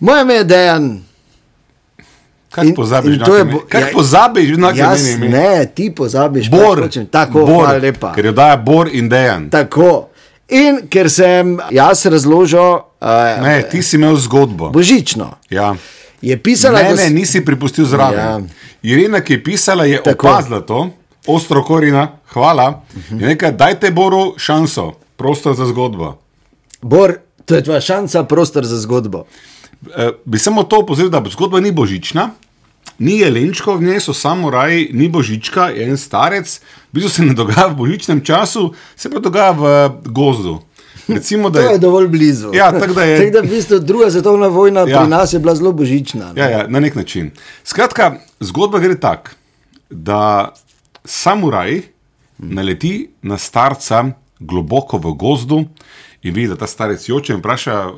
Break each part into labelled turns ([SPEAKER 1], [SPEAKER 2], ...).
[SPEAKER 1] Moje ime je Dejan.
[SPEAKER 2] Kaj
[SPEAKER 1] In-
[SPEAKER 2] pozabiš?
[SPEAKER 1] in
[SPEAKER 2] na
[SPEAKER 1] to je
[SPEAKER 2] ime?
[SPEAKER 1] bo-
[SPEAKER 2] Kaj
[SPEAKER 1] ja,
[SPEAKER 2] pozabiš? na kaj
[SPEAKER 1] Jaz,
[SPEAKER 2] meni ime?
[SPEAKER 1] ne, ti pozabiš, pač
[SPEAKER 2] Bor.
[SPEAKER 1] hočem. tako,
[SPEAKER 2] Bor,
[SPEAKER 1] hvala lepa.
[SPEAKER 2] Ker jo daje Bor in Dejan.
[SPEAKER 1] Tako. In ker sem jaz razložil uh,
[SPEAKER 2] Ne, ti si imel zgodbo.
[SPEAKER 1] božično,
[SPEAKER 2] Ja.
[SPEAKER 1] je pisala,
[SPEAKER 2] Ne,
[SPEAKER 1] da
[SPEAKER 2] ne,
[SPEAKER 1] s-
[SPEAKER 2] nisi pripustil zraven.
[SPEAKER 1] Ja.
[SPEAKER 2] Ja. Irena, ki je pisala, je
[SPEAKER 1] Tako. Mhm.
[SPEAKER 2] Tako. opazila to, ostro korina, hvala. Je rekla, dajte Boru šanso, prostor za zgodbo.
[SPEAKER 1] Bor, to je tvoja šansa, prostor za zgodbo.
[SPEAKER 2] Eh, bi samo to opozoril, da zgodba ni božična, ni jelenčko, v njej so samuraji, ni božička, je en starec, v bistvu se ne dogaja v božičnem času, se pa dogaja v eh, gozdu. Recimo, da
[SPEAKER 1] To je
[SPEAKER 2] je,
[SPEAKER 1] dovolj blizu.
[SPEAKER 2] Ja, tako da je-
[SPEAKER 1] Tako da v bistvu druga svetovna vojna ja.
[SPEAKER 2] Ja.
[SPEAKER 1] pri nas je bila zelo božična. ne.
[SPEAKER 2] ja, ja, na nek način. Skratka, zgodba gre tako, da samuraj naleti na starca globoko v gozdu in vidi, da ta starec joče in vpraša.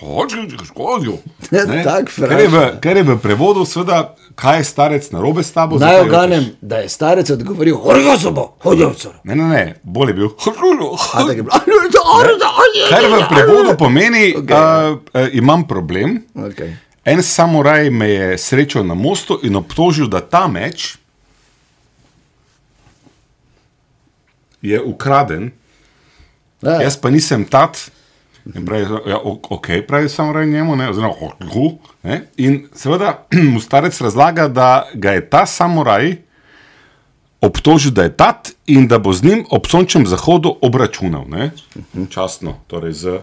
[SPEAKER 2] Hočeš, da skozi. Ne?
[SPEAKER 1] Tako
[SPEAKER 2] Kar je
[SPEAKER 1] Ja, vpraša.
[SPEAKER 2] v- Kar je v prevodu, seveda, kaj je starec narobe s tabo.
[SPEAKER 1] Naj
[SPEAKER 2] zakaj jočeš?
[SPEAKER 1] oganem, da je starec odgovoril: Horjo so bo, hodil so.
[SPEAKER 2] Ne, ne, ne, bolje bil. Kar
[SPEAKER 1] Kar
[SPEAKER 2] v prevodu pomeni, da okay. uh, imam problem.
[SPEAKER 1] Okay.
[SPEAKER 2] En samuraj me je srečal na mostu in obtožil, da ta meč je ukraden,
[SPEAKER 1] Ja.
[SPEAKER 2] jaz pa nisem tat. In pravi, ja, o- ok, pravi samuraj njemu, ne, oziroma hohu. In seveda mu starec razlaga, da ga je ta samuraj obtožil, da je tat in da bo z njim ob sončnem zahodu obračunal. Ne? Časno, torej z.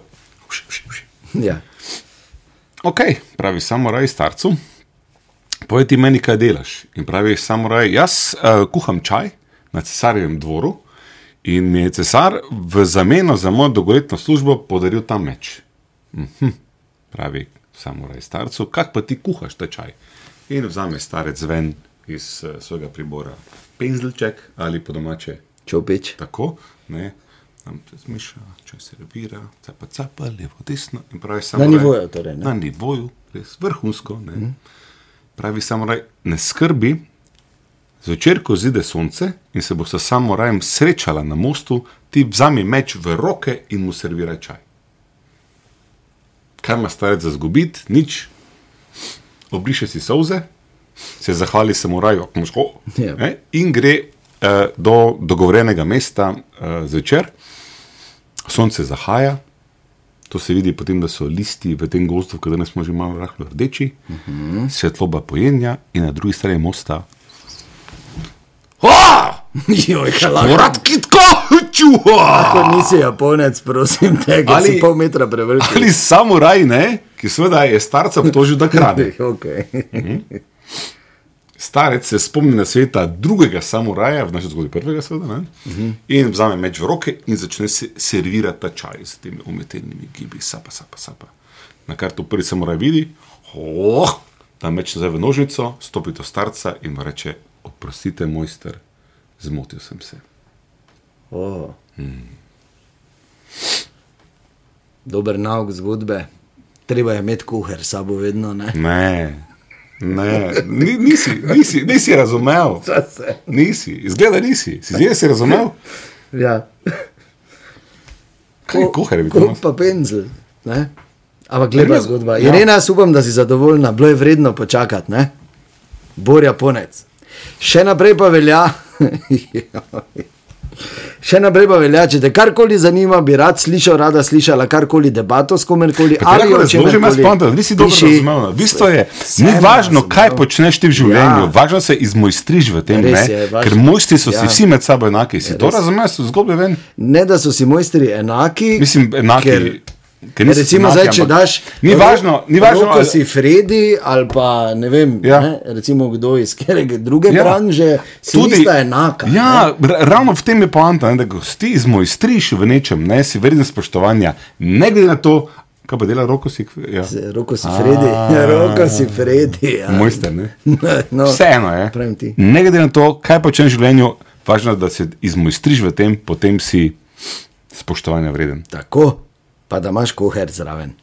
[SPEAKER 1] Ja.
[SPEAKER 2] Ok, pravi samuraj starcu, povej ti meni, kaj delaš. In pravi samuraj, jaz uh, kuham čaj na cesarjevem dvoru in mi je cesar v zameno za mojo dolgoletno službo podaril ta meč. Mhm, pravi samuraj starcu, kak pa ti kuhaš ta čaj? In vzame starec ven iz uh, svojega pribora penzlček ali po domače
[SPEAKER 1] Čopič.
[SPEAKER 2] tako, ne. Tam se zmeša, če se servira, capa, capa, levo, desno. in
[SPEAKER 1] Na
[SPEAKER 2] pravi samuraj-
[SPEAKER 1] nivoju torej. Ne? Mhm.
[SPEAKER 2] na nivoju, res vrhunsko. Ne? Pravi samuraj, ne skrbi, zvečer, ko zide sonce in se boš s samurajem srečala na mostu, ti vzami meč v roke in mu serviraj čaj. Kaj ima starec za zgubiti? Nič. Obriše si solze, se zahvali samuraju, moško,
[SPEAKER 1] Ja.
[SPEAKER 2] yeah. in gre eh, do dogovorjenega mesta eh, zvečer. Sonce zahaja, To se vidi potem, da so listi v tem gozdu, ki danes smo že malo rahlo rdeči, uh -huh. svetloba pojenja in na drugi strani mosta.
[SPEAKER 1] Joj, kalak.
[SPEAKER 2] Morat kitko, čuha!
[SPEAKER 1] Ko nisi japonec, prosim, tega ali
[SPEAKER 2] Ali-
[SPEAKER 1] si pol metra prevelik.
[SPEAKER 2] Ali samuraj, ne? ki seveda je starca obtožil, da krade.
[SPEAKER 1] Okay.
[SPEAKER 2] Starec se spomni na sveta drugega samuraja, v naši zgodbi prvega, seveda, ne? in vzame meč v roke in začne se servirati ta čaj s temi umetelnimi gibi, sapa, sapa, sapa. Na kar to prvi samuraj vidi, oh, da meč nazaj v nožnico, stopi do starca in mu reče: Oprostite, mojster, zmotil sem se.
[SPEAKER 1] oh. Dober nauk zgodbe. Treba je imeti kuhar s sabo vedno. Ne?
[SPEAKER 2] Ne, ne, ni, nisi, nisi, nisi razumel. Nisi, izgleda nisi, si zdaj si razumel.
[SPEAKER 1] Ja.
[SPEAKER 2] Kaj je kuhar, bi to
[SPEAKER 1] Kup pa penzel. Ne? Ampak lepa
[SPEAKER 2] Irena-
[SPEAKER 1] zgodba.
[SPEAKER 2] ja.
[SPEAKER 1] Irena, jaz upam, da si zadovoljna, bilo je vredno počakati, ne? Borja Ponec. Še naprej pa velja. Še naprej pa velja, če te karkoli zanima, bi rad slišal, rada slišala karkoli debato s komerkoli. Ali
[SPEAKER 2] Ali
[SPEAKER 1] o
[SPEAKER 2] razložim, jaz spontan,
[SPEAKER 1] čemerkoli.
[SPEAKER 2] nisi dobro
[SPEAKER 1] Piši.
[SPEAKER 2] razumel. V bistvu je,
[SPEAKER 1] Sem
[SPEAKER 2] ni važno,
[SPEAKER 1] razumel.
[SPEAKER 2] kaj počneš ti v življenju,
[SPEAKER 1] no. Ja.
[SPEAKER 2] ja. važno se izmojstriš v tem,
[SPEAKER 1] Res
[SPEAKER 2] ne?
[SPEAKER 1] je, važno.
[SPEAKER 2] ker mojstri so
[SPEAKER 1] Ja.
[SPEAKER 2] si vsi med sabo enaki. Si to razumel, so zgodbe ven?
[SPEAKER 1] Ne, da so si mojstri enaki.
[SPEAKER 2] Mislim, enaki.
[SPEAKER 1] Ker,
[SPEAKER 2] ker niso
[SPEAKER 1] recimo,
[SPEAKER 2] enaki,
[SPEAKER 1] zdaj, če
[SPEAKER 2] ampak
[SPEAKER 1] daš.
[SPEAKER 2] Ni
[SPEAKER 1] ro-
[SPEAKER 2] važno, ni važno.
[SPEAKER 1] Roko
[SPEAKER 2] ali-
[SPEAKER 1] si Fredi ali pa ne vem, ja.
[SPEAKER 2] Ja.
[SPEAKER 1] ne, recimo kdo iz katerega druge ja.
[SPEAKER 2] Ja.
[SPEAKER 1] branže, si Tudi, nista enaka. ne.
[SPEAKER 2] Ja, ra- ravno v tem je poanta, ne, da ko si izmojstriš v nečem, ne, si vreden spoštovanja, ne glede na to, kaj pa dela roko si. Ja.
[SPEAKER 1] Z- Roko si Fredi, roko si Fredi. ja.
[SPEAKER 2] Mojster, ne?
[SPEAKER 1] no,
[SPEAKER 2] Vseeno je.
[SPEAKER 1] Pravim ti.
[SPEAKER 2] Ne glede na to, kaj počneš v življenju, važno je, da se izmojstriš v tem, potem si spoštovanja vreden.
[SPEAKER 1] Tako, pa da imaš koher zraven.